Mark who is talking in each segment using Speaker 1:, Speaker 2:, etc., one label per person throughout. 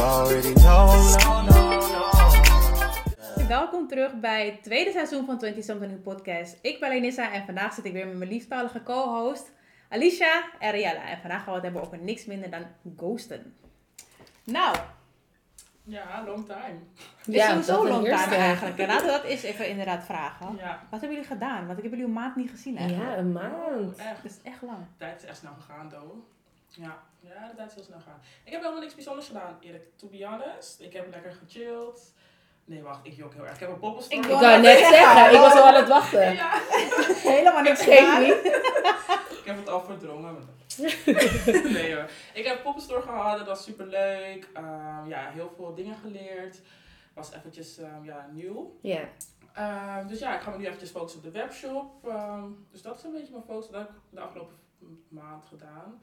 Speaker 1: already know.
Speaker 2: Welkom terug bij het tweede seizoen van 20 Something Podcast. Ik ben Lenissa en vandaag zit ik weer met mijn lieftalige co-host Alicia en Riella. En vandaag gaan we het hebben over niks minder dan ghosten. Nou,
Speaker 3: Ja, long time.
Speaker 2: is sowieso long time
Speaker 4: eerste.
Speaker 2: eigenlijk. En laten we dat eens even inderdaad vragen.
Speaker 3: Ja,
Speaker 2: Wat hebben jullie gedaan? Want ik heb jullie een maand niet gezien eigenlijk.
Speaker 4: Ja, een maand.
Speaker 3: echt.
Speaker 2: Dat is echt lang.
Speaker 3: De tijd is echt snel gegaan, though. Ja, ja, de tijd is heel snel gegaan. Ik heb helemaal niks bijzonders gedaan, eerlijk. To be honest, ik heb lekker gechilled. Nee, wacht, ik jok heel erg. Ik heb een poppelstar.
Speaker 2: Ik
Speaker 4: Ik
Speaker 2: wou
Speaker 4: wou net
Speaker 2: net zeggen,
Speaker 4: zeggen, ik was al aan het
Speaker 3: Ja,
Speaker 4: wachten.
Speaker 2: Helemaal
Speaker 4: Ik
Speaker 2: niks
Speaker 4: geef
Speaker 2: gedaan.
Speaker 4: niet.
Speaker 3: ik heb het al verdrongen. maar- nee hoor. Ik heb poppelstar gehad, dat was super leuk. ja, heel veel dingen geleerd. Was eventjes ehm, ja, nieuw.
Speaker 4: Ja,
Speaker 3: Ehm, dus ja, ik ga me nu eventjes focussen op de webshop. Ehm, dus dat is een beetje mijn focus. Dat heb ik de afgelopen maand gedaan.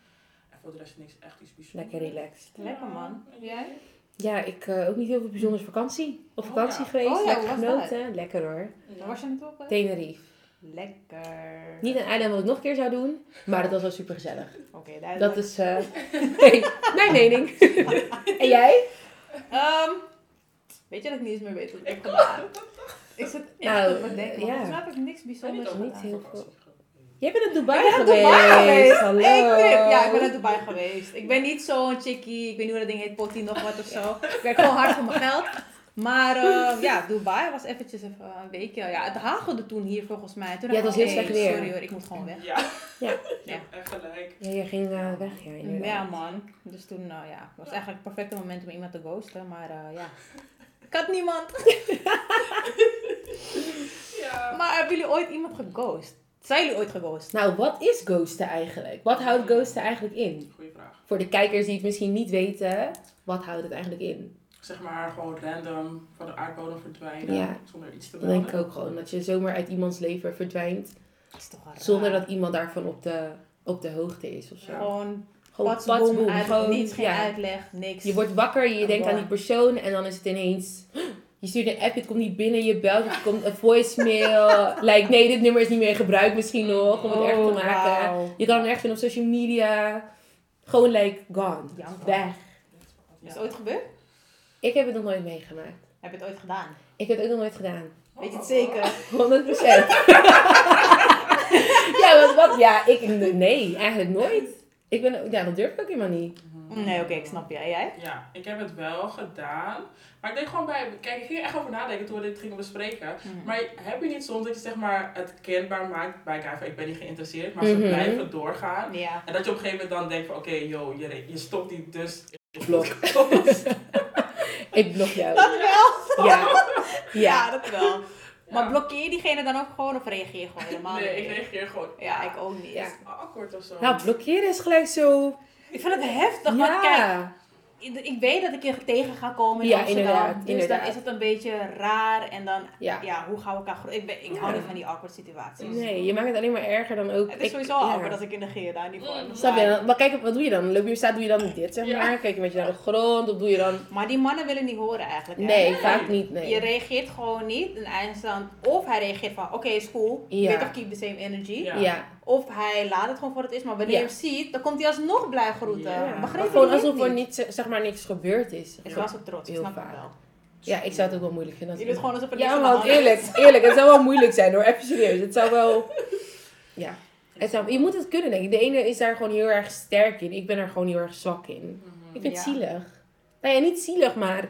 Speaker 3: En voor de rest niks echt iets bijzonders.
Speaker 4: lekker relaxed.
Speaker 2: Lekker man.
Speaker 3: Ja.
Speaker 2: Jij?
Speaker 4: Ja, op ook niet heel veel bijzonders vakantie. Op
Speaker 3: Oh,
Speaker 4: vakantie
Speaker 3: ja.
Speaker 4: geweest,
Speaker 2: Oh, ja,
Speaker 4: lekker
Speaker 2: hoe was dat?
Speaker 4: genoten. Lekker hoor.
Speaker 2: Waar was je naartoe? op?
Speaker 4: Tenerife.
Speaker 2: Lekker.
Speaker 4: Niet een eiland wat ik nog een keer zou doen, maar dat was wel super gezellig.
Speaker 2: Oké, daar
Speaker 4: Dat is eh, mijn mening. en jij?
Speaker 2: Ehm, weet je dat ik niet eens meer weet wat ik heb gedaan? Ik zit echt
Speaker 4: Nou,
Speaker 2: te bedenken. Ja.
Speaker 4: ja.
Speaker 2: Volgens mij heb ik niks bijzonders
Speaker 3: ook
Speaker 2: gedaan.
Speaker 4: niet heel veel.
Speaker 3: veel.
Speaker 4: Jij bent naar Dubai
Speaker 2: Ik ben naar
Speaker 4: geweest.
Speaker 2: Dubai geweest.
Speaker 4: Hallo.
Speaker 2: Ik trip. Ja, ik ben naar Dubai geweest. Ik ben niet zo'n chickie. Ik weet niet hoe dat ding heet. Potty nog wat of zo. Ik werk gewoon hard voor mijn geld. Maar eh, ja, Dubai was eventjes even een weekje. Ja, het hagelde toen hier volgens mij. Toen
Speaker 4: Ja, het
Speaker 2: dacht
Speaker 4: was
Speaker 2: ik,
Speaker 4: heel
Speaker 2: "Hey,
Speaker 4: slecht weer."
Speaker 2: Sorry hoor, ik moet gewoon weg.
Speaker 3: Ja.
Speaker 4: Ja.
Speaker 3: Je hebt echt gelijk.
Speaker 4: Ja, jij ging eh, weg, ja, inderdaad.
Speaker 2: Ja man, dus toen, nou ja, het was eigenlijk het perfecte moment om iemand te ghosten, maar eh, ja, ik had niemand.
Speaker 3: Ja.
Speaker 2: Maar hebben jullie ooit iemand geghost? Zijn jullie ooit geghost?
Speaker 4: Nou, wat is ghosten eigenlijk? Wat houdt ghosten eigenlijk in?
Speaker 3: Goeie vraag.
Speaker 4: Voor de kijkers die het misschien niet weten, wat houdt het eigenlijk in?
Speaker 3: Zeg maar gewoon random van de aardbodem verdwijnen.
Speaker 4: Ja.
Speaker 3: Zonder iets te
Speaker 4: Dan denk ik
Speaker 3: melden.
Speaker 4: ook gewoon dat je zomaar uit iemands leven verdwijnt
Speaker 2: Dat is toch wel raar.
Speaker 4: zonder dat iemand daarvan op de, op de hoogte is of zo.
Speaker 2: Gewoon
Speaker 4: Gewoon
Speaker 2: patsboom,
Speaker 4: patsboom,
Speaker 2: uit het
Speaker 4: gewoon,
Speaker 2: niets, geen
Speaker 4: ja.
Speaker 2: uitleg, niks.
Speaker 4: Je wordt wakker, je denkt aan die
Speaker 2: Gewoon.
Speaker 4: persoon en dan is het ineens. Je stuurt een app, het komt niet binnen, je belt, het komt een voicemail. like, nee, dit nummer is niet meer in gebruik misschien nog, om het erg te maken.
Speaker 2: Oh, wauw.
Speaker 4: Je kan hem echt vinden op social media. Gewoon like, gone.
Speaker 2: Jammer.
Speaker 4: Weg.
Speaker 2: Is
Speaker 3: Ja.
Speaker 2: het ooit gebeurd?
Speaker 4: Ik heb het nog nooit meegemaakt.
Speaker 2: Heb je het ooit gedaan?
Speaker 4: Ik heb het ook nog nooit gedaan.
Speaker 3: Oh,
Speaker 2: Weet je het zeker?
Speaker 4: 100 ja, want wat? Ja, ik. Nee, eigenlijk nooit. Ik ben, ja, dat durf ik ook helemaal niet.
Speaker 2: Mm, Nee, oké, ik snap je. En jij?
Speaker 3: oh. Ja, ik heb het wel gedaan. Maar ik denk gewoon bij. Kijk, ik ging er echt over nadenken toen we dit gingen bespreken.
Speaker 2: Mhm.
Speaker 3: Maar heb je niet soms dat je zeg maar, het kenbaar maakt bij elkaar van ik ben niet geïnteresseerd, maar ze
Speaker 4: Mhm.
Speaker 3: blijven doorgaan?
Speaker 2: Ja.
Speaker 3: En dat je op een gegeven moment dan denkt van oké, yo, je, je stopt die dus.
Speaker 4: Blok. Ik blok jou.
Speaker 2: Dat wel.
Speaker 4: Ja. Ja.
Speaker 2: Ja, dat wel. Maar
Speaker 3: Ja.
Speaker 2: blokkeer je diegene dan ook gewoon of reageer je gewoon helemaal
Speaker 3: Nee,
Speaker 2: niet?
Speaker 3: ik reageer gewoon.
Speaker 2: Ja, ik ook niet.
Speaker 4: Ja.
Speaker 3: Akkoord of zo.
Speaker 4: Nou, blokkeren is gelijk zo.
Speaker 2: Ik vind het heftig, want kijk,
Speaker 4: Ja.
Speaker 2: ik ik weet dat ik je tegen ga komen in
Speaker 4: Ja,
Speaker 2: Amsterdam.
Speaker 4: inderdaad,
Speaker 2: dus
Speaker 4: inderdaad.
Speaker 2: dan is het een beetje raar en dan,
Speaker 4: Ja.
Speaker 2: ja, hoe gaan we elkaar groeien? Ik, ben, ik hou
Speaker 4: Ja.
Speaker 2: niet van die awkward situaties.
Speaker 4: Nee, je maakt het alleen maar erger dan ook.
Speaker 2: Het is
Speaker 4: ik-
Speaker 2: sowieso
Speaker 4: ja.
Speaker 2: al awkward als ik in de geer daar niet
Speaker 3: Mm.
Speaker 2: van.
Speaker 4: Snap je? Dan- Maar kijk, wat doe je dan? Loop je staat, doe je dan dit, zeg
Speaker 3: Ja.
Speaker 4: maar? Kijk je met je naar de grond, of doe je dan...
Speaker 2: Maar die mannen willen niet horen eigenlijk. hè?
Speaker 4: Nee, vaak niet, nee.
Speaker 2: Je reageert gewoon niet en eindstand. Of hij reageert van, oké, is cool.
Speaker 4: Ja.
Speaker 2: Weet toch, keep the same energy.
Speaker 3: Ja.
Speaker 4: Ja.
Speaker 2: Of hij laat het gewoon voor het is. Maar wanneer
Speaker 4: Ja.
Speaker 2: je hem ziet, dan komt hij alsnog blij groeten.
Speaker 3: Ja.
Speaker 4: Maar
Speaker 2: Begrijp je
Speaker 4: Gewoon
Speaker 2: dit
Speaker 4: alsof er
Speaker 2: niet?
Speaker 4: niet, zeg maar, niks gebeurd is.
Speaker 2: Ik was zo trots, ik
Speaker 4: Heel
Speaker 2: snap het
Speaker 4: vaak.
Speaker 2: wel.
Speaker 4: Ja, ik zou het ook wel moeilijk vinden.
Speaker 2: Je
Speaker 4: als
Speaker 2: doet gewoon alsof er niks
Speaker 4: Ja,
Speaker 2: aan de hand
Speaker 4: want
Speaker 2: is.
Speaker 4: eerlijk, eerlijk, het zou wel moeilijk zijn hoor. Even serieus. Het zou wel. Ja. Het zou, je moet het kunnen, denk ik. De ene is daar gewoon heel erg sterk in. Ik ben er gewoon heel erg zwak in.
Speaker 3: Mhm.
Speaker 4: Ik vind het
Speaker 2: Ja.
Speaker 4: zielig. Nou ja, niet zielig, maar.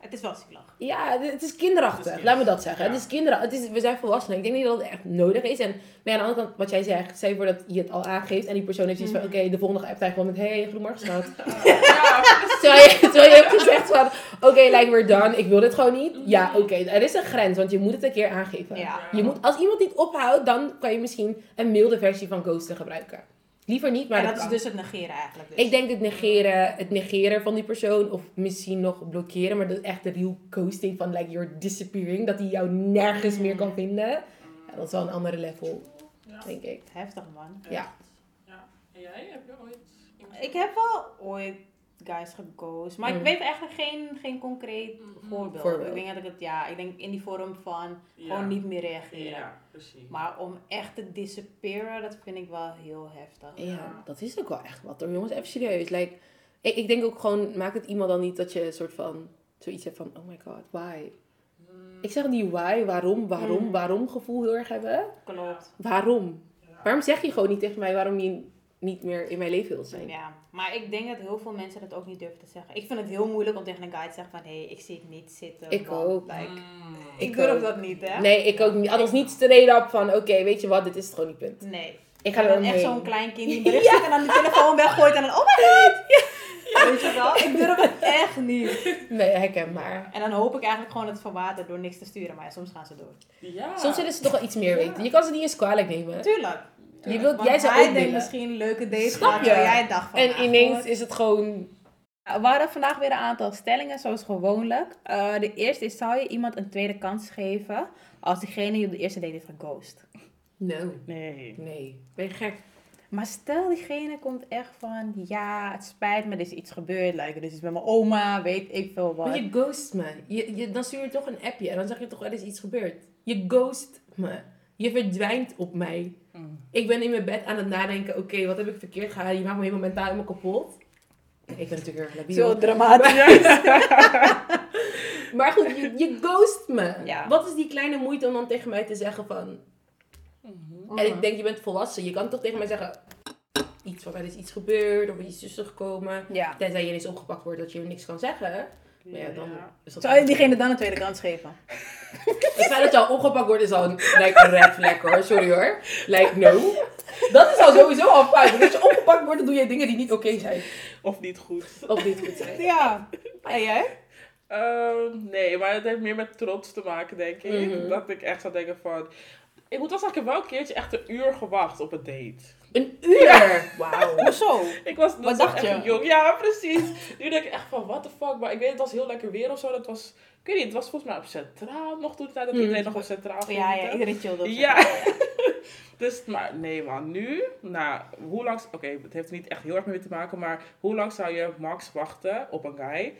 Speaker 2: Het is wel zielig.
Speaker 4: Ja, het het is kinderachtig.
Speaker 3: Het is
Speaker 4: Laat me dat zeggen.
Speaker 3: ja.
Speaker 4: Het is kinderachtig. Het is, we zijn volwassenen. Ik denk niet dat het echt nodig is. En, maar ja, aan de andere kant, wat jij zegt, stel je voor dat je het al aangeeft. En die persoon heeft
Speaker 2: Mm.
Speaker 4: iets van: oké, de volgende appt hij gewoon met: hey, goedemorgen, schat.
Speaker 3: Ja,
Speaker 4: Terwijl je, terwijl je hebt gezegd van, oké, like we're done, ik wil dit gewoon niet. Ja, oké, er is een grens, want je moet het een keer aangeven.
Speaker 2: Mm. Ja.
Speaker 4: Je moet, als iemand niet ophoudt, dan kan je misschien een milde versie van ghosten gebruiken. Liever niet, maar
Speaker 2: en
Speaker 4: dat,
Speaker 2: dat is
Speaker 4: kan.
Speaker 2: dus het negeren eigenlijk. Dus.
Speaker 4: Ik denk het negeren, het negeren van die persoon, of misschien nog blokkeren, maar dat echt de real ghosting van like you're disappearing, dat hij jou nergens meer kan vinden. Ja, dat is wel een andere level,
Speaker 3: Ja.
Speaker 4: denk ik.
Speaker 2: Heftig man.
Speaker 4: Ja.
Speaker 3: Ja. En jij? Heb je ooit iemand-
Speaker 2: Ik heb wel ooit guys geghost, maar ik
Speaker 4: Mm.
Speaker 2: weet eigenlijk geen, geen concreet
Speaker 3: Mhm.
Speaker 2: voorbeeld.
Speaker 4: Voorbeeld.
Speaker 2: Ik denk dat ik het, ja, ik denk in die vorm van
Speaker 3: Ja.
Speaker 2: gewoon niet meer reageren.
Speaker 3: Ja, precies.
Speaker 2: Maar om echt te disappearen, dat vind ik wel heel heftig.
Speaker 4: Ja, dat is ook wel echt wat hoor, jongens. Even serieus. Like, Ik, ik denk ook gewoon, maakt het iemand dan niet dat je een soort van zoiets hebt van, oh my god, why?
Speaker 3: Mhm.
Speaker 4: Ik zeg die why, waarom, waarom,
Speaker 2: Mm.
Speaker 4: waarom gevoel heel erg hebben.
Speaker 2: Klopt.
Speaker 4: Waarom?
Speaker 3: Ja.
Speaker 4: Waarom zeg je gewoon niet tegen mij waarom je niet meer in mijn leven wilt zijn?
Speaker 2: Ja, maar ik denk dat heel veel mensen dat ook niet durven te zeggen. Ik vind het heel moeilijk om tegen een guy te zeggen van... Hé, hey, ik zie het niet zitten.
Speaker 4: Ik
Speaker 2: want,
Speaker 4: ook.
Speaker 2: like,
Speaker 3: Mm.
Speaker 2: ik,
Speaker 4: Ik
Speaker 2: durf
Speaker 4: ook.
Speaker 2: dat niet, hè?
Speaker 4: Nee, ik ook niet. Althans niet straight up van, oké, weet je wat, dit is het gewoon niet punt.
Speaker 2: Nee.
Speaker 4: Ik ga
Speaker 2: Ik
Speaker 4: er
Speaker 2: ben
Speaker 4: wel
Speaker 2: echt
Speaker 4: mee.
Speaker 2: zo'n klein kind die bericht zit en dan de telefoon weggooit en dan... Oh my god! Weet je wel? Ik durf het echt niet.
Speaker 4: Nee, herkenbaar.
Speaker 2: En dan hoop ik eigenlijk gewoon dat het verwatert door niks te sturen. Maar ja, soms gaan ze door.
Speaker 3: Ja.
Speaker 4: Soms willen ze toch wel iets meer
Speaker 3: Ja.
Speaker 4: weten. Je kan ze niet eens kwalijk nemen.
Speaker 2: Tuurlijk.
Speaker 4: Je wilt,
Speaker 2: Want
Speaker 4: jij
Speaker 2: hij
Speaker 4: zou ook
Speaker 2: denkt
Speaker 4: willen.
Speaker 2: misschien een leuke date
Speaker 4: Snap
Speaker 2: gehad,
Speaker 4: je?
Speaker 2: terwijl jij dacht van...
Speaker 4: En
Speaker 2: nou,
Speaker 4: ineens
Speaker 2: goed.
Speaker 4: is het gewoon...
Speaker 2: We hadden vandaag weer een aantal stellingen, zoals gewoonlijk. Eh, de eerste is, zou je iemand een tweede kans geven als diegene je op de eerste date heeft geghost?
Speaker 4: No.
Speaker 2: Nee.
Speaker 4: Nee. Ben je gek?
Speaker 2: Maar stel, diegene komt echt van, ja, het spijt me, er is iets gebeurd. Like, er is iets met mijn oma, weet ik veel wat.
Speaker 4: Maar je ghost me. Je, je, dan stuur je toch een appje en dan zeg je toch er is iets gebeurd. Je ghost me. Je verdwijnt op mij.
Speaker 3: Mm.
Speaker 4: Ik ben in mijn bed aan het nadenken. Oké, wat heb ik verkeerd gedaan? Je maakt me helemaal mentaal helemaal kapot. Ik ben natuurlijk erg labiel.
Speaker 2: Zo dramatisch.
Speaker 4: Maar goed, je, je ghost me.
Speaker 2: Ja.
Speaker 4: Wat is die kleine moeite om dan tegen mij te zeggen van...
Speaker 3: Mhm.
Speaker 4: En
Speaker 2: Mhm.
Speaker 4: ik denk, je bent volwassen. Je kan toch tegen mij zeggen... Iets van, er is iets gebeurd of er is iets tussen gekomen.
Speaker 2: Ja.
Speaker 4: Tenzij je ineens opgepakt wordt dat je niks kan zeggen. Maar ja, dan is dat...
Speaker 2: Zou je diegene dan een tweede kans geven?
Speaker 4: Het feit dat je al opgepakt wordt is al een like, een red flag hoor. Sorry hoor. Like, no. Dat is al sowieso al fout. Want Als je opgepakt wordt, dan doe je dingen die niet oké zijn.
Speaker 3: Of niet goed.
Speaker 4: Of niet goed zijn.
Speaker 2: Ja. En jij?
Speaker 3: Ehm, nee, maar het heeft meer met trots te maken, denk ik.
Speaker 4: Mhm.
Speaker 3: Dat ik echt zou denken van... Ik moet wel zeggen, ik heb wel een keertje echt een uur gewacht op een date.
Speaker 4: Een uur! Wauw.
Speaker 2: Hoezo?
Speaker 3: Ik was nog
Speaker 2: Wat
Speaker 3: zo
Speaker 2: dacht
Speaker 3: echt
Speaker 2: je?
Speaker 3: jong. Ja, precies. Nu denk ik echt van, what the fuck. Maar ik weet, het was heel lekker weer of zo. Dat was, ik weet niet, het was volgens mij op Centraal nog toen. de tijd Dat
Speaker 4: Mm.
Speaker 3: iedereen nog op Centraal ging.
Speaker 2: Mhm. Ja, ja,
Speaker 3: zitten.
Speaker 2: iedereen chillde. op zich.
Speaker 3: Oh Ja. dus, maar nee man, nu, nou, hoe lang, oké, het heeft er niet echt heel erg mee te maken, maar hoe lang zou je max wachten op een guy?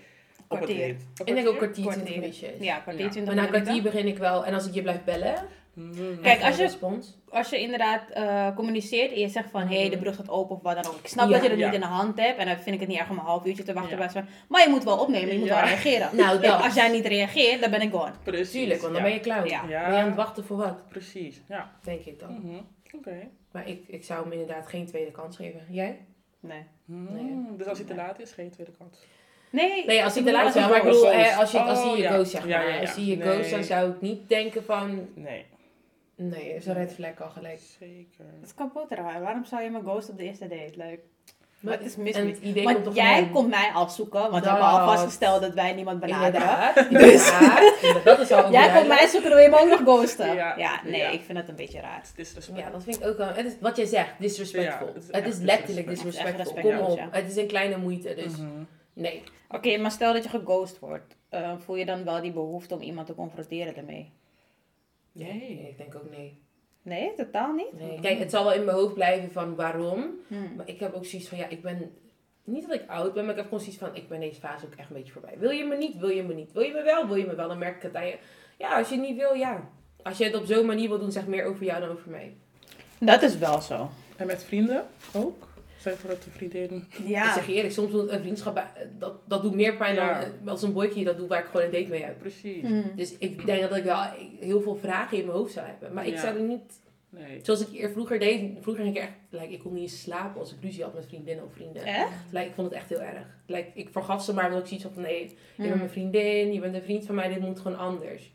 Speaker 3: Op een
Speaker 2: Kwartier.
Speaker 3: date? Een
Speaker 4: Ik denk ook kwartier,
Speaker 2: Kwartier.
Speaker 4: 20 minuutjes.
Speaker 2: Ja, kwartier,
Speaker 3: Ja.
Speaker 2: 20
Speaker 4: Maar na een
Speaker 2: minuten.
Speaker 4: kwartier begin ik wel. En als ik je blijf bellen...
Speaker 3: Mm.
Speaker 2: Kijk,
Speaker 4: en
Speaker 2: als je-
Speaker 4: respons.
Speaker 2: als je inderdaad eh, communiceert en je zegt van hé, hey, de brug gaat open of wat dan ook. Ik snap
Speaker 4: Ja.
Speaker 2: dat je dat
Speaker 3: Ja.
Speaker 2: niet in de hand hebt en dan vind ik het niet erg om een half uurtje te wachten.
Speaker 3: Ja.
Speaker 2: bij zo'n- Maar je moet wel opnemen, je moet
Speaker 3: Ja.
Speaker 2: wel reageren.
Speaker 4: Nou,
Speaker 2: Kijk,
Speaker 4: dat.
Speaker 2: als jij niet reageert, dan ben ik gone.
Speaker 3: Precies.
Speaker 4: Tuurlijk, want dan
Speaker 3: ja.
Speaker 4: ben je klauw.
Speaker 2: Ja.
Speaker 3: Ja.
Speaker 4: Ben je Oh. aan het wachten voor wat?
Speaker 3: Precies, ja.
Speaker 4: Denk ik dan.
Speaker 3: Mhm. Oké.
Speaker 4: Maar ik, ik zou hem inderdaad geen tweede kans geven. Jij?
Speaker 2: Nee.
Speaker 3: Mm.
Speaker 4: Nee.
Speaker 3: Dus als hij te laat is, geen tweede kans.
Speaker 2: Nee,
Speaker 4: Nee, als hij te
Speaker 2: bedoel-
Speaker 4: laat
Speaker 3: als
Speaker 4: is,
Speaker 3: hij
Speaker 4: maar ik
Speaker 3: wel
Speaker 4: bedoel,
Speaker 3: ghost.
Speaker 4: eh, als je, als hij
Speaker 3: Oh,
Speaker 4: je
Speaker 3: ja.
Speaker 4: ghost, zeg maar.
Speaker 3: Ja, ja, ja.
Speaker 4: Als hij je
Speaker 3: Nee.
Speaker 4: ghost, dan zou ik niet denken van...
Speaker 3: Nee.
Speaker 4: Nee, dat is een red flag al gelijk.
Speaker 3: Zeker.
Speaker 2: Dat kan potterhaar. Waarom zou je me ghost op de eerste date? Leuk. Maar het is mis
Speaker 4: en
Speaker 2: niet.
Speaker 4: het idee komt
Speaker 2: Want
Speaker 4: toch
Speaker 2: jij
Speaker 4: van-
Speaker 2: komt mij afzoeken, want we
Speaker 4: Dat.
Speaker 2: hebben al vastgesteld dat wij niemand benaderen.
Speaker 4: Inderdaad, inderdaad. Dat is al
Speaker 2: Jij komt
Speaker 4: duidelijk.
Speaker 2: mij zoeken, dan wil je me ook nog ghosten. Ja,
Speaker 3: Ja.
Speaker 2: nee,
Speaker 3: Ja.
Speaker 2: ik vind dat een beetje raar.
Speaker 3: Het is respect.
Speaker 4: Ja, dat vind ik ook wel... Het is wat jij zegt, disrespectful.
Speaker 3: Ja, het
Speaker 4: het
Speaker 3: is echt
Speaker 4: is, letterlijk
Speaker 2: disrespectful.
Speaker 4: disrespectful.
Speaker 2: Het is echt
Speaker 4: Kom op.
Speaker 2: respectloos,
Speaker 4: Het is een kleine moeite, dus
Speaker 3: Mhm.
Speaker 4: nee.
Speaker 2: Oké, maar stel dat je geghost wordt, eh, voel je dan wel die behoefte om iemand te confronteren ermee?
Speaker 3: Nee.
Speaker 4: Ik denk ook nee.
Speaker 2: Nee, totaal niet.
Speaker 4: nee. Kijk, het zal wel in mijn hoofd blijven van waarom.
Speaker 2: Hmm.
Speaker 4: Maar ik heb ook zoiets van, ja, ik ben... Niet dat ik oud ben, maar ik heb gewoon zoiets van, ik ben deze fase ook echt een beetje voorbij. Wil je me niet? Wil je me niet? Wil je me wel? Wil je me wel? Dan merk ik het aan je. Ja, als je het niet wil, ja. Als je het op zo'n manier wil doen, zegt meer over jou dan over mij.
Speaker 2: Dat is wel zo.
Speaker 3: En met vrienden ook? Zijn voor dat de vriendinnen?
Speaker 4: Ik
Speaker 2: Ja.
Speaker 4: zeg je eerlijk, soms doet een vriendschap, eh, dat, dat doet meer pijn
Speaker 3: Ja.
Speaker 4: dan eh, als een boykie dat doet waar ik gewoon een date mee heb.
Speaker 3: Precies.
Speaker 2: Mm.
Speaker 4: Dus ik denk dat ik wel heel veel vragen in mijn hoofd zou hebben. Maar ik
Speaker 3: Ja.
Speaker 4: zou er niet...
Speaker 3: Nee.
Speaker 4: Zoals ik eer vroeger deed, vroeger ging ik echt... Like, ik kon niet eens slapen als ik ruzie had met vriendinnen of vrienden.
Speaker 2: Echt?
Speaker 4: Like, ik vond het echt heel erg. Like, ik vergaf ze maar, omdat ik zoiets had van... Nee, je bent
Speaker 2: Mm.
Speaker 4: mijn vriendin, je bent een vriend van mij, dit moet gewoon anders.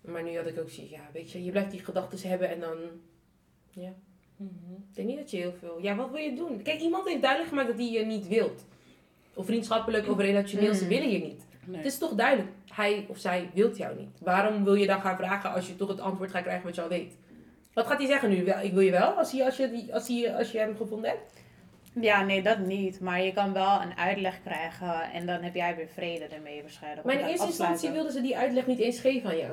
Speaker 4: Maar nu had ik ook zoiets, ja, weet je, je blijft die gedachten hebben en dan... Ik denk niet dat je heel veel... Ja, wat wil je doen? Kijk, iemand heeft duidelijk gemaakt dat hij je niet wilt. Of vriendschappelijk of relationeel, ze
Speaker 2: Mm.
Speaker 4: willen je niet.
Speaker 3: Nee.
Speaker 4: Het is toch duidelijk, hij of zij wilt jou niet. Waarom wil je dan gaan vragen als je toch het antwoord gaat krijgen wat je al weet? Wat gaat hij zeggen nu? Wel, ik wil je wel, als, hij, als, je, die- als, hij, als je hem gevonden hebt?
Speaker 2: Hmm. Ja, nee, dat niet. Maar je kan wel een uitleg krijgen en dan heb jij weer vrede ermee waarschijnlijk.
Speaker 4: Maar in
Speaker 2: Of
Speaker 4: eerste
Speaker 2: afsluiten.
Speaker 4: instantie wilden ze die uitleg niet eens geven aan jou.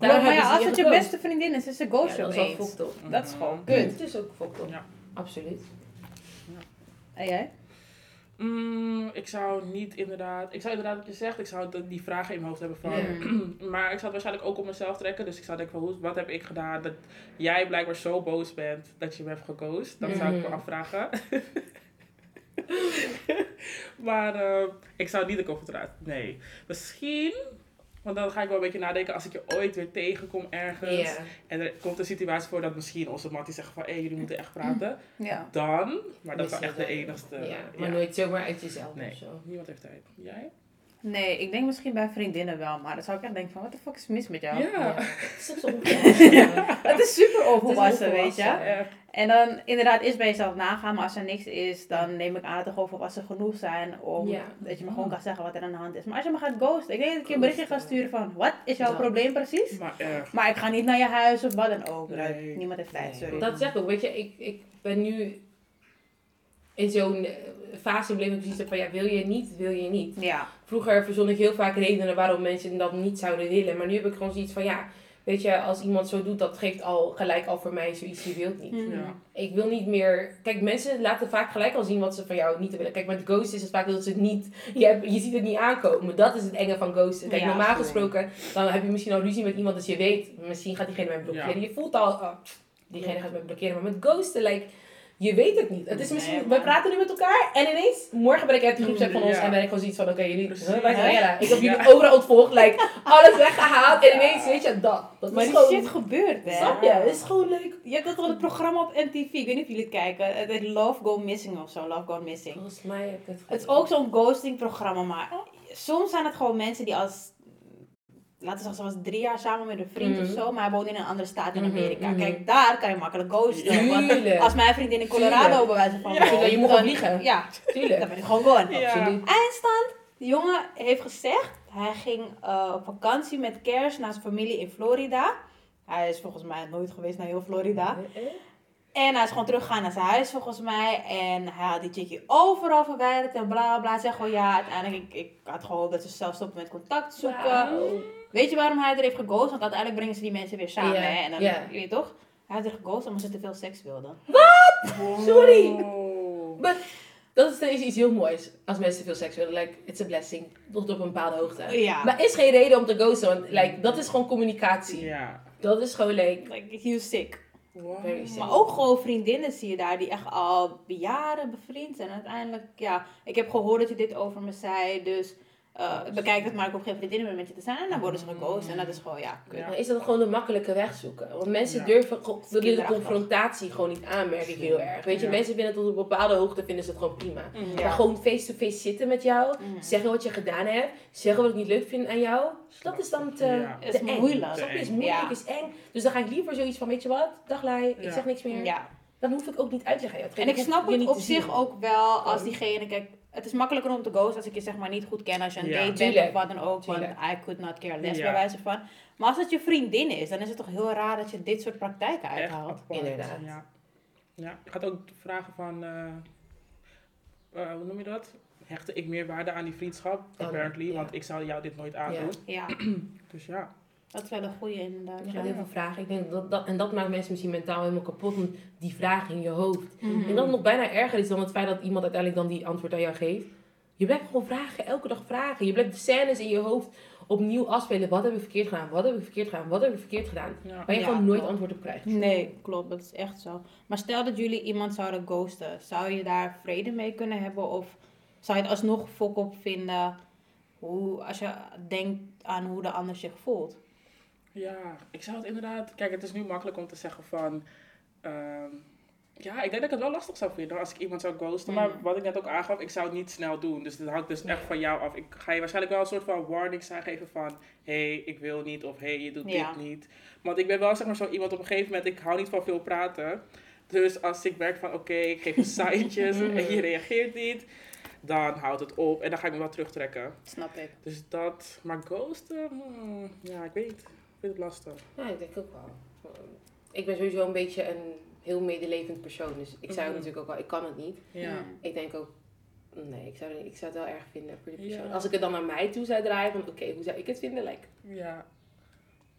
Speaker 2: Ja, maar
Speaker 4: hebben
Speaker 2: ja,
Speaker 4: ze
Speaker 2: als
Speaker 4: je
Speaker 2: het je
Speaker 4: gepoost.
Speaker 2: beste vriendin is, is ze ghost
Speaker 4: Ja,
Speaker 2: je
Speaker 4: dat is Hmm. al
Speaker 2: opeens.
Speaker 4: fucked up.
Speaker 2: Dat is gewoon
Speaker 3: Mhm.
Speaker 2: kut.
Speaker 4: Het is ook fucked up.
Speaker 3: Ja.
Speaker 4: Absoluut.
Speaker 2: En jij?
Speaker 3: Mm, ik zou niet inderdaad... Ik zou inderdaad wat je zegt, ik zou dat- die vragen in mijn hoofd hebben van... Maar ik zou het waarschijnlijk ook op mezelf trekken. Dus ik zou denken van, hoe- wat heb ik gedaan dat jij blijkbaar zo boos bent dat je me hebt geghost? Dan zou ik me
Speaker 4: Mhm.
Speaker 3: afvragen. Maar eh, ik zou niet de confrontatie. Nee. Misschien. Want dan ga ik wel een beetje nadenken als ik je ooit weer tegenkom ergens.
Speaker 4: Ja.
Speaker 3: En er komt een situatie voor dat misschien onze mattie zeggen van hé, jullie moeten echt praten.
Speaker 2: Ja.
Speaker 3: Dan. Maar dat is wel
Speaker 4: Misschien
Speaker 3: echt de
Speaker 4: wel.
Speaker 3: enigste.
Speaker 4: ja,
Speaker 3: eh, ja.
Speaker 4: maar nooit zomaar uit jezelf
Speaker 3: Nee.
Speaker 4: of zo.
Speaker 3: Niemand heeft tijd. Jij?
Speaker 2: Nee, ik denk misschien bij vriendinnen wel, maar dan zou ik echt denken van, wat de fuck is mis met jou?
Speaker 3: Ja.
Speaker 4: Het is soms ongelooflijk. Ja.
Speaker 2: Het is super
Speaker 4: Het is
Speaker 2: onvolwassen, weet
Speaker 4: onvolwassen.
Speaker 2: je.
Speaker 3: Echt.
Speaker 2: En dan inderdaad is bij jezelf nagaan, maar als er niks is, dan neem ik aan dat er gewoon volwassen genoeg zijn om
Speaker 4: Ja.
Speaker 2: dat je me gewoon kan zeggen wat er aan de hand is. Maar als je me gaat ghosten, ik denk dat ik je een berichtje ga
Speaker 4: Ghosten.
Speaker 2: sturen van, wat is jouw
Speaker 4: Ja.
Speaker 2: probleem precies?
Speaker 3: Maar echt.
Speaker 2: Maar ik ga niet naar je huis of wat dan ook.
Speaker 3: Nee.
Speaker 2: Dat- Niemand heeft tijd,
Speaker 3: Nee.
Speaker 2: sorry.
Speaker 4: Dat zeg ik ook. Weet je, ik, ik ben nu in zo'n eh, fase in mijn leven precies van ja, wil je niet, wil je niet.
Speaker 2: Ja.
Speaker 4: Vroeger verzon ik heel vaak redenen waarom mensen dat niet zouden willen. Maar nu heb ik gewoon zoiets van ja, weet je, als iemand zo doet, dat geeft al gelijk al voor mij zoiets, je wilt niet.
Speaker 3: Ja.
Speaker 4: Ik wil niet meer. Kijk, mensen laten vaak gelijk al zien wat ze van jou niet willen. Kijk, met ghost is het vaak dat ze het niet. Je, hebt, je ziet het niet aankomen. Dat is het enge van ghosten. Kijk,
Speaker 2: Ja,
Speaker 4: normaal
Speaker 2: sorry.
Speaker 4: gesproken, dan heb je misschien al ruzie met iemand. Dus je weet, misschien gaat diegene mij blokkeren. Je voelt al, oh, diegene gaat mij blokkeren. Maar met ghosten, like, je weet het niet. Het is
Speaker 2: Nee,
Speaker 4: misschien,
Speaker 2: man.
Speaker 4: wij praten nu met elkaar en ineens, morgen ben ik uit de groepsapp van ons
Speaker 3: Ja.
Speaker 4: en ben ik gewoon zoiets van: oké, jullie.
Speaker 3: Precies.
Speaker 4: huh, wij zijn
Speaker 2: Ja.
Speaker 4: Ella. Ik heb jullie
Speaker 3: Ja.
Speaker 4: overal ontvolgd, like, alles weggehaald. En ineens, weet je, dat. Dat
Speaker 2: Maar
Speaker 4: is
Speaker 2: die
Speaker 4: gewoon.
Speaker 2: shit gebeurt, hè.
Speaker 4: Snap je? Het is gewoon leuk.
Speaker 2: Je hebt dat wel het programma op MTV, ik weet niet of jullie het kijken. Het heet Love Go Missing of zo, Love Go Missing.
Speaker 4: Volgens mij heb ik het
Speaker 2: Het is ook zo'n ghosting programma, maar soms zijn het gewoon mensen die als, laten we zeggen, ze was drie jaar samen met een vriend
Speaker 4: Mhm.
Speaker 2: of zo, maar hij woont in een andere staat in
Speaker 4: Mhm,
Speaker 2: Amerika.
Speaker 4: mhm.
Speaker 2: Kijk, daar kan je makkelijk ghosten. Want
Speaker 4: Tuurlijk.
Speaker 2: als mijn vriendin in Colorado
Speaker 4: Tuurlijk.
Speaker 2: bij wijze van
Speaker 4: Ja,
Speaker 2: woont,
Speaker 4: je moet
Speaker 2: dan-
Speaker 4: gewoon liegen.
Speaker 2: Ja,
Speaker 4: Tuurlijk.
Speaker 2: dan ben ik gewoon gone.
Speaker 3: Ja.
Speaker 4: Absoluut.
Speaker 2: Eindstand, de jongen heeft gezegd, hij ging eh, op vakantie met kerst naar zijn familie in Florida. Hij is volgens mij nooit geweest naar heel Florida. En hij is gewoon teruggegaan naar zijn huis volgens mij. En hij had die chickie overal verwijderd en bla bla. Zeg gewoon ja, uiteindelijk ik, ik had gehoopt dat ze zelf stoppen met contact zoeken.
Speaker 4: Wauw.
Speaker 2: Weet je waarom hij er heeft geghost? Want uiteindelijk brengen ze die mensen weer samen.
Speaker 4: Ja,
Speaker 2: Hè? En dan,
Speaker 4: ja.
Speaker 2: je weet toch? Hij had er geghost omdat ze te veel seks wilden.
Speaker 4: Sorry.
Speaker 3: Wow.
Speaker 4: Maar dat is ineens iets heel moois. Als mensen veel seks willen, like, it's a blessing. Tot op een bepaalde
Speaker 3: Oh,
Speaker 4: hoogte.
Speaker 2: Ja.
Speaker 4: Maar is geen reden om te ghosten, want like, dat is gewoon communicatie.
Speaker 3: Ja.
Speaker 4: Dat is gewoon like...
Speaker 2: Like, he was sick.
Speaker 3: Wow.
Speaker 4: Very sick.
Speaker 2: Maar ook gewoon vriendinnen zie je daar die echt al jaren bevriend zijn. En uiteindelijk, ja, ik heb gehoord dat je dit over me zei. Dus eh, bekijk het maar, ik hoef geen vriendinnen meer met je te zijn. En dan
Speaker 4: Mm.
Speaker 2: worden ze geghost. En dat is gewoon, ja, kut.
Speaker 3: Ja.
Speaker 4: Maar is dat gewoon de makkelijke weg zoeken? Want mensen
Speaker 3: Ja.
Speaker 4: durven go- willen de
Speaker 2: Kinderachtig.
Speaker 4: confrontatie gewoon niet aanmerken heel erg. Weet je,
Speaker 3: Ja.
Speaker 4: mensen vinden het tot op een bepaalde hoogte vinden ze het gewoon prima.
Speaker 3: Mhm.
Speaker 4: Maar gewoon face-to-face zitten met jou,
Speaker 2: Mm.
Speaker 4: zeggen wat je gedaan hebt, zeggen wat ik niet leuk vind aan jou. Dat is dan te,
Speaker 3: Ja.
Speaker 4: te
Speaker 2: Het is
Speaker 4: eng.
Speaker 2: moeilijk.
Speaker 4: Snap je? Het is
Speaker 3: Te
Speaker 4: moeilijk,
Speaker 2: Ja.
Speaker 4: het is eng. Dus dan ga ik liever zoiets van, weet je wat, daglij, ik
Speaker 3: Ja.
Speaker 4: zeg niks meer.
Speaker 2: Ja,
Speaker 4: Dan hoef ik ook niet uit te leggen. aan jou.
Speaker 2: En ik
Speaker 4: hoef
Speaker 2: snap
Speaker 4: je
Speaker 2: het
Speaker 4: niet
Speaker 2: op
Speaker 4: te
Speaker 2: zich
Speaker 4: zien.
Speaker 2: ook wel als
Speaker 4: Gewoon.
Speaker 2: diegene, kijk, het is makkelijker om te ghosten als ik je zeg maar niet goed ken als je een
Speaker 3: Ja.
Speaker 2: date bent
Speaker 4: Tuurlijk.
Speaker 2: of wat dan ook, want
Speaker 4: Tuurlijk.
Speaker 2: I could not care less
Speaker 3: Ja.
Speaker 2: bij wijze van. Maar als het je vriendin is, dan is het toch heel raar dat je dit soort praktijken
Speaker 3: Echt
Speaker 2: uithaalt.
Speaker 3: apart.
Speaker 4: Inderdaad.
Speaker 3: Ja. ja. Ik had ook vragen van, eh, eh, hoe noem je dat? Hechtte ik meer waarde aan die vriendschap?
Speaker 4: nee.
Speaker 3: apparently,
Speaker 4: Ja.
Speaker 3: want ik zou jou dit nooit aandoen.
Speaker 2: Ja,
Speaker 3: Dus Oh, ja.
Speaker 2: dat is wel een goeie inderdaad.
Speaker 4: Ik
Speaker 2: ja.
Speaker 4: ga heel veel vragen. Ik denk dat, dat, en dat maakt mensen misschien mentaal helemaal kapot. Want die vragen in je hoofd.
Speaker 2: Mhm.
Speaker 4: En dat het nog bijna erger is dan het feit dat iemand uiteindelijk dan die antwoord aan jou geeft. Je blijft gewoon vragen, elke dag vragen. Je blijft de scènes in je hoofd opnieuw afspelen. Wat heb ik verkeerd gedaan? Wat heb ik verkeerd gedaan? Wat heb ik verkeerd gedaan?
Speaker 3: ja.
Speaker 4: Waar je
Speaker 2: Ja,
Speaker 4: gewoon nooit
Speaker 2: klopt.
Speaker 4: antwoord op krijgt.
Speaker 2: Nee, klopt, dat is echt zo. Maar stel dat jullie iemand zouden ghosten, zou je daar vrede mee kunnen hebben of zou je het alsnog fok op vinden hoe, als je denkt aan hoe de ander zich voelt?
Speaker 3: Ja, ik zou het inderdaad... Kijk, het is nu makkelijk om te zeggen van... ehm, ja, ik denk dat ik het wel lastig zou vinden als ik iemand zou ghosten. Maar
Speaker 2: Mm.
Speaker 3: wat ik net ook aangaf, ik zou het niet snel doen. Dus dat hangt dus echt van jou af. Ik ga je waarschijnlijk wel een soort van warning zijn geven van... Hé, hey, ik wil niet. Of hé, hey, je doet
Speaker 2: Ja.
Speaker 3: dit niet. Want ik ben wel zeg maar zo iemand op een gegeven moment... Ik hou niet van veel praten. Dus als ik merk van oké, ik geef je seintjes en
Speaker 2: Mm.
Speaker 3: je reageert niet... Dan houdt het op en dan ga ik me wel terugtrekken.
Speaker 2: Snap ik.
Speaker 3: Dus dat... Maar ghosten... hmm, ja, ik weet. Ik vind het lastig.
Speaker 4: Ja, ik denk ook wel. Ik ben sowieso een beetje een heel medelevend persoon. Dus ik zou
Speaker 3: Mhm.
Speaker 4: natuurlijk ook wel, ik kan het niet.
Speaker 3: Ja.
Speaker 4: Ik denk ook, nee, ik zou, ik zou het wel erg vinden voor die
Speaker 3: Ja.
Speaker 4: persoon. Als ik het dan naar mij toe zou draaien, van oké, hoe zou ik het vinden? Like,
Speaker 3: Ja.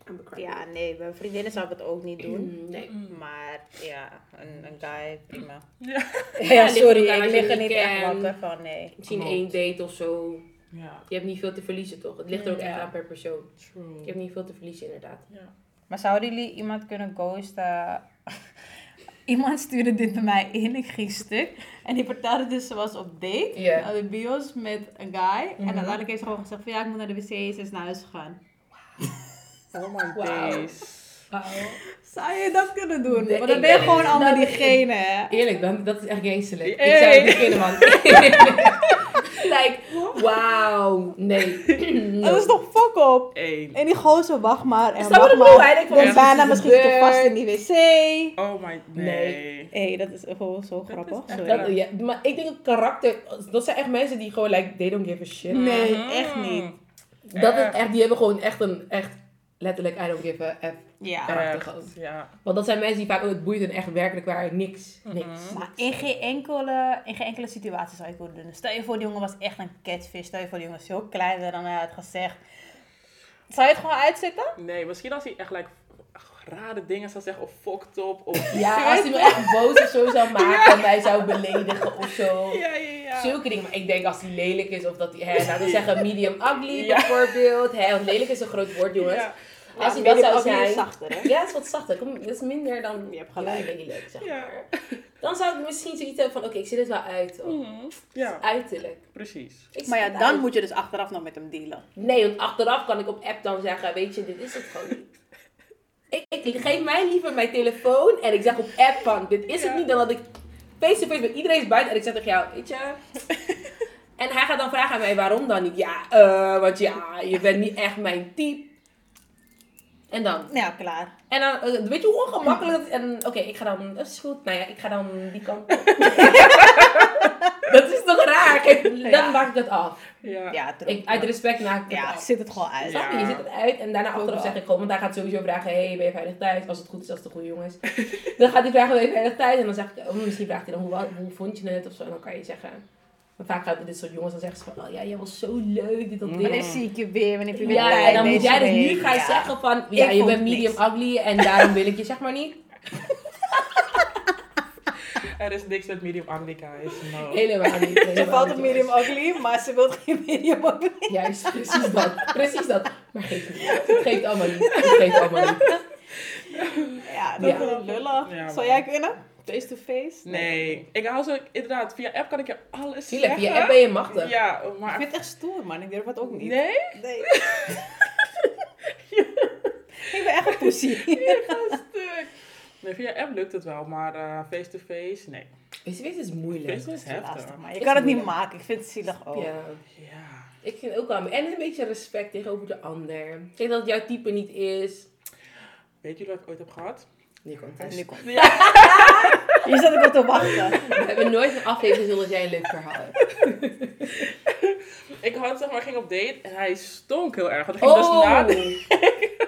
Speaker 4: I'm a crap.
Speaker 2: Ja, nee, mijn vriendinnen zou ik het ook niet doen.
Speaker 4: Mm, Nee.
Speaker 2: Maar ja, een, een guy, prima.
Speaker 3: Ja.
Speaker 2: Ja, sorry,
Speaker 4: ligt eraan
Speaker 2: ik
Speaker 4: als je
Speaker 2: lig er
Speaker 4: die
Speaker 2: niet echt
Speaker 4: kent.
Speaker 2: wakker van, nee.
Speaker 4: Misschien
Speaker 3: Klopt.
Speaker 4: één date of zo.
Speaker 3: Ja,
Speaker 4: Je hebt niet veel te verliezen, toch? Het ligt er ook
Speaker 2: Ja.
Speaker 4: echt aan per persoon.
Speaker 3: true.
Speaker 4: Je hebt niet veel te verliezen, inderdaad.
Speaker 3: Ja.
Speaker 2: Maar zouden jullie iemand kunnen ghosten? Iemand stuurde dit bij mij in, ik ging stuk. En die vertelde dus, ze was op date,
Speaker 4: Ja.
Speaker 2: aan de bios, met een guy. En
Speaker 4: Mhm.
Speaker 2: uiteindelijk heeft ze gewoon gezegd van, ja, ik moet naar de wc, ze is naar huis gegaan.
Speaker 3: Oh my
Speaker 4: Wauw.
Speaker 3: days.
Speaker 2: Zou je dat kunnen doen?
Speaker 4: Nee,
Speaker 2: Want dan
Speaker 4: ik
Speaker 2: ben je
Speaker 4: ben-
Speaker 2: gewoon allemaal
Speaker 4: nou,
Speaker 2: diegene, hè?
Speaker 4: Eerlijk, dan, dat is echt geestelijk. Ik
Speaker 3: Hey.
Speaker 4: zou het niet kunnen, man. like, wauw. Nee.
Speaker 2: Dat is toch fuck op?
Speaker 3: Eén.
Speaker 2: En die gozer, wacht maar. En
Speaker 4: Is dat wat
Speaker 2: wacht
Speaker 4: ik bedoel?
Speaker 2: maar.
Speaker 4: Hij denkt van,
Speaker 2: En
Speaker 3: Ja.
Speaker 2: daarna
Speaker 4: wat is
Speaker 2: misschien zit je
Speaker 4: gebeurd?
Speaker 2: vast in die wc.
Speaker 3: Oh my, nee.
Speaker 2: Hé, dat is gewoon zo grappig.
Speaker 3: echt
Speaker 2: Sorry.
Speaker 4: Dat, ja, maar ik denk dat karakter, dat zijn echt mensen die gewoon like, they don't give a shit.
Speaker 2: Nee,
Speaker 3: Mhm.
Speaker 2: echt niet.
Speaker 4: Dat is echt, die hebben gewoon echt een, echt letterlijk I don't give a F.
Speaker 2: Ja.
Speaker 4: Karakter
Speaker 3: Echt,
Speaker 4: ook.
Speaker 3: ja.
Speaker 4: Want dat zijn mensen die vaak, oh, het boeit hen echt werkelijk waar niks,
Speaker 3: Mhm.
Speaker 4: niks.
Speaker 2: Maar in geen, enkele, in geen enkele situatie zou ik het willen doen. Dus Stel je voor, die jongen was echt een catfish. Stel je voor, die jongen is heel klein werd dan hij had gezegd. Zou je het gewoon uitzetten?
Speaker 3: Nee, misschien als hij echt like, rare dingen zou zeggen, of fucked up, of...
Speaker 4: Ja, als hij me echt boos of zo zou maken en mij zou beledigen of zo.
Speaker 3: ja, ja, ja.
Speaker 4: Zulke dingen. Maar ik denk als hij lelijk is of dat hij, hè, laten we zeggen medium ugly
Speaker 3: Ja.
Speaker 4: bijvoorbeeld. Hè, want lelijk is een groot woord, jongens.
Speaker 3: Ja.
Speaker 4: Als hij dat zou
Speaker 2: ook
Speaker 4: zijn.
Speaker 2: niet zachter, hè?
Speaker 4: Ja, het is wat zachter. Kom, dat is minder dan
Speaker 2: Je hebt gelijk.
Speaker 4: lelijk, zeg
Speaker 3: Ja.
Speaker 4: maar. Dan zou ik misschien zoiets hebben van, oké, ik zit het wel uit. of
Speaker 3: Ja,
Speaker 4: Uiterlijk.
Speaker 3: precies.
Speaker 4: Ik
Speaker 2: Maar
Speaker 4: zit
Speaker 2: ja,
Speaker 4: het
Speaker 2: dan
Speaker 4: uit.
Speaker 2: moet je dus achteraf nog met hem dealen.
Speaker 4: Nee, want achteraf kan ik op app dan zeggen, weet je, dit is het gewoon niet. Ik, ik geef mij liever mijn telefoon en ik zeg op app van, dit is het
Speaker 3: Ja.
Speaker 4: niet. Dan dat ik face-to-face met iedereen is buiten en ik zeg tegen jou, weet je. En hij gaat dan vragen aan mij, waarom dan niet? Ja, eh, want ja, je bent niet echt mijn type. En dan?
Speaker 2: Ja, klaar.
Speaker 4: En dan, eh, weet je hoe ongemakkelijk dat is? En oké, ik ga dan, dat is goed. Nou ja, ik ga dan die kant op. dat is toch raar? Kijk, dan
Speaker 2: Ja.
Speaker 4: maak ik het af.
Speaker 3: Ja.
Speaker 2: Ja, true.
Speaker 4: Ik, uit respect maak ik het
Speaker 2: Ja,
Speaker 4: af.
Speaker 2: zit het gewoon uit.
Speaker 3: Ja.
Speaker 4: Snap je? Je zit het uit en daarna
Speaker 2: Ook
Speaker 4: achteraf
Speaker 2: wel.
Speaker 4: zeg ik gewoon, want hij gaat sowieso vragen, hey, ben je veilig thuis? Als het goed is, als het goed jongens. dan gaat hij vragen, ben je veilig thuis? En dan zeg ik, oh, misschien vraagt hij dan, hoe, wa- hoe vond je het? Of zo. En dan kan je zeggen, want vaak gaat het dit soort jongens, dan zeggen ze van, oh ja, jij was zo leuk, dit dat dit.
Speaker 2: Maar dan zie ik je weer, wanneer heb je weer
Speaker 4: Ja,
Speaker 2: tijd
Speaker 4: en dan moet
Speaker 2: deze
Speaker 4: jij dus
Speaker 2: week.
Speaker 4: nu gaan
Speaker 2: Ja.
Speaker 4: zeggen van, ja,
Speaker 2: Ik
Speaker 4: je
Speaker 2: vond
Speaker 4: bent
Speaker 2: niks.
Speaker 4: medium ugly en daarom wil ik je zeg maar niet.
Speaker 3: Er is niks met medium Anglica, is no.
Speaker 4: Helemaal niet.
Speaker 2: Ze
Speaker 4: helemaal
Speaker 2: valt
Speaker 4: niet,
Speaker 2: op medium
Speaker 4: jongens.
Speaker 2: ugly, maar ze wil geen medium ugly.
Speaker 4: Juist, precies dat. Precies dat. Maar geeft niet. Het geeft allemaal niet. Het geeft allemaal niet.
Speaker 2: Ja, dat
Speaker 4: Ja.
Speaker 2: is wel lullig.
Speaker 3: Ja,
Speaker 2: Zou
Speaker 3: man.
Speaker 2: jij kunnen? Face-to-face?
Speaker 3: Nee, ik hou zo, inderdaad, via app kan ik je alles
Speaker 4: Zielig,
Speaker 3: zeggen.
Speaker 4: via app ben je machtig.
Speaker 3: Ja,
Speaker 2: Ik
Speaker 3: maar...
Speaker 2: vind het echt stoer, man. Ik durf het ook niet.
Speaker 3: Nee?
Speaker 2: Nee. ik ben echt een poesie.
Speaker 3: Ik ga stuk. Nee, via app lukt het wel, maar eh, face-to-face, nee.
Speaker 4: Face-to-face is moeilijk.
Speaker 3: Face-to-face is heftig.
Speaker 2: Lastig, maar je
Speaker 4: Is
Speaker 2: kan het niet
Speaker 4: moeilijk.
Speaker 2: maken. Ik vind het zielig Oh, ook.
Speaker 4: Ja,
Speaker 3: Ja.
Speaker 4: ik vind ook wel. En een beetje respect tegenover de ander. Ik denk dat het jouw type niet is.
Speaker 3: Weet jullie wat ik ooit heb gehad?
Speaker 4: Nee, komt
Speaker 2: En nu
Speaker 4: het.
Speaker 2: komt
Speaker 3: Ja.
Speaker 2: Je zat erop te wachten.
Speaker 4: We hebben nooit een aflevering zonder dat jij een leuk verhaal hebt.
Speaker 3: Ik had, zeg maar, ging op date en hij stonk heel erg. Want ik ging dus
Speaker 4: Oh!
Speaker 3: nadenken.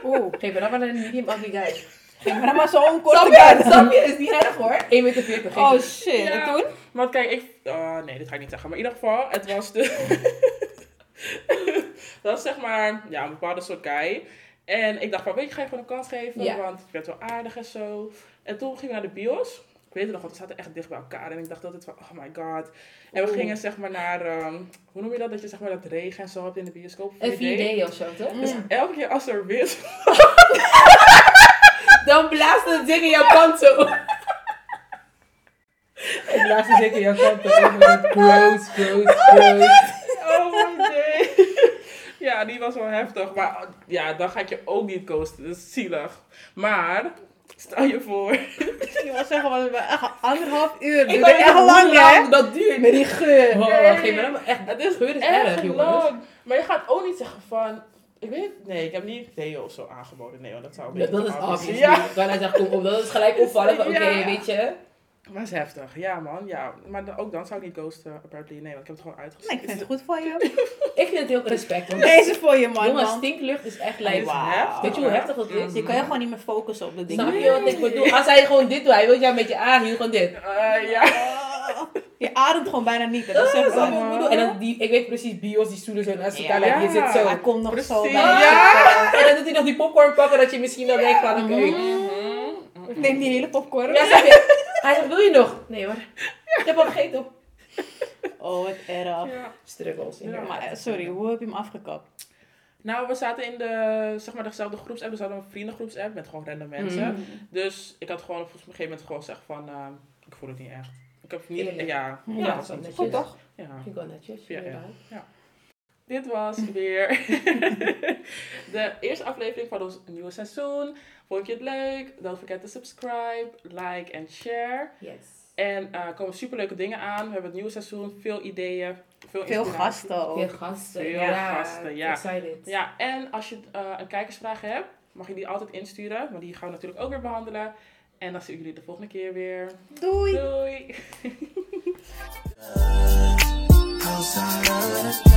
Speaker 2: Oeh.
Speaker 4: Geef me dan maar een medium ugly guy.
Speaker 2: Ik ben maar zo'n korte
Speaker 4: Snap je?
Speaker 2: guy.
Speaker 4: Snap je? Is niet erg hoor. 1,40 meter. geef
Speaker 2: Oh
Speaker 4: me.
Speaker 2: shit.
Speaker 3: Ja.
Speaker 2: En toen?
Speaker 3: Want kijk, ik... ah, nee, dit ga ik niet zeggen. Maar in ieder geval, het was de... dat was zeg maar ja, een bepaalde soort guy. En ik dacht van, weet je, ga je gewoon een kans geven.
Speaker 4: Ja.
Speaker 3: Want ik werd wel aardig en zo. En toen gingen we naar de bios. Ik weet het nog, want we zaten echt dicht bij elkaar. En ik dacht altijd van, oh my god. En we
Speaker 4: Oeh.
Speaker 3: gingen zeg maar naar... ehm, hoe noem je dat? Dat je zeg maar dat regen en zo hebt in de bioscoop.
Speaker 4: Een
Speaker 3: 4D.
Speaker 4: 4D of zo, toch?
Speaker 3: Dus elke keer als er weer
Speaker 4: Dan blaast het ding in jouw kant zo. Het blaast het ding in jouw kant zo. Gross, gross, gross.
Speaker 3: Oh my day. Ja, die was wel heftig. Maar ja, dan ga ik je ook niet coasten. Dat is zielig. Maar, stel je voor.
Speaker 2: Ik wil zeggen, want we hebben echt anderhalf uur.
Speaker 4: Ik
Speaker 2: Duurt
Speaker 4: weet
Speaker 2: echt lang, hè?
Speaker 4: dat duurt.
Speaker 2: Met die geur.
Speaker 4: Oh,
Speaker 3: Nee.
Speaker 4: geef me dan maar echt.
Speaker 3: Het is
Speaker 4: geur is
Speaker 3: erg
Speaker 4: erg, jongens.
Speaker 3: lang. Maar je gaat ook niet zeggen van... Ik weet Nee, ik heb niet Theo of zo aangeboden. Nee, want dat zou een
Speaker 4: Ja,
Speaker 3: beetje
Speaker 4: dat is
Speaker 3: te hard
Speaker 4: obvious.
Speaker 3: Ja,
Speaker 4: Dan hij zegt, kom op, dat is gelijk opvallen. van, Oké,
Speaker 3: Ja.
Speaker 4: weet je.
Speaker 3: maar is heftig. Ja, man. Ja. Maar dan- ook dan zou ik niet ghosten, apparently. Nee, want ik heb het gewoon
Speaker 2: Nee,
Speaker 3: uitgezet.
Speaker 2: ik vind het goed voor je.
Speaker 4: Ik vind het heel respect. Want
Speaker 2: Deze voor je, man.
Speaker 4: jongens,
Speaker 2: man.
Speaker 4: stinklucht is echt
Speaker 3: Het
Speaker 4: lijp.
Speaker 3: is
Speaker 2: Wauw.
Speaker 3: heftig.
Speaker 4: Weet je hoe heftig dat is?
Speaker 2: Je kan je gewoon niet meer focussen op de
Speaker 4: Snap
Speaker 2: dingen.
Speaker 4: je wat ik bedoel? Als hij gewoon dit doet, hij wil jou met je aanhiel, gewoon dit.
Speaker 3: Eh, ja.
Speaker 2: Ah, Je ademt gewoon bijna niet. hè. Dat is echt
Speaker 4: Snap
Speaker 2: zo.
Speaker 4: je wat ik bedoel? En dan die, ik weet precies, bios, die stoelen zo naast elkaar.
Speaker 2: Ja.
Speaker 4: like, je zit zo.
Speaker 2: Hij komt nog zo bij.
Speaker 3: Precies.
Speaker 2: je
Speaker 4: Ja! En dan doet hij nog die popcorn pakken dat je misschien dan denkt van, oké. Mhm.
Speaker 2: zitten. Neem die hele popcorn.
Speaker 4: Ja, snap je? Hij zegt, wil je nog? Nee hoor. Ik heb al gegeten.
Speaker 2: Oh, wat erg.
Speaker 3: Ja.
Speaker 4: Struggles.
Speaker 3: Ja.
Speaker 4: inderdaad.
Speaker 2: Maar eh, sorry, hoe heb je hem afgekapt?
Speaker 3: Nou, we zaten in de, zeg maar, dezelfde groepsapp. Dus we hadden een vriendengroepsapp met gewoon random mensen.
Speaker 4: Mhm.
Speaker 3: Dus ik had gewoon op een gegeven moment gewoon gezegd van, eh, ik voel het niet echt. Ik heb niet, ja,
Speaker 4: Eerlijk.
Speaker 3: ja,
Speaker 4: Ja,
Speaker 3: ja,
Speaker 4: dat is wel netjes.
Speaker 1: Goed toch?
Speaker 3: ja.
Speaker 4: Vind ik wel netjes.
Speaker 3: Ja, ja.
Speaker 4: inderdaad.
Speaker 3: Dit was weer de eerste aflevering van ons nieuwe seizoen. Vond je het leuk? Don't forget to subscribe, like en share.
Speaker 4: Yes.
Speaker 3: En eh, er komen superleuke dingen aan. We hebben het nieuwe seizoen, veel ideeën, veel
Speaker 1: Veel
Speaker 3: inspiratie.
Speaker 1: gasten ook.
Speaker 4: Veel gasten.
Speaker 3: Veel gasten, ja.
Speaker 4: Excited.
Speaker 3: Ja, en als je eh, een kijkersvraag hebt, mag je die altijd insturen. Maar die gaan we natuurlijk ook weer behandelen. En dan zien we jullie de volgende keer weer.
Speaker 1: Doei!
Speaker 3: Doei.
Speaker 5: outside.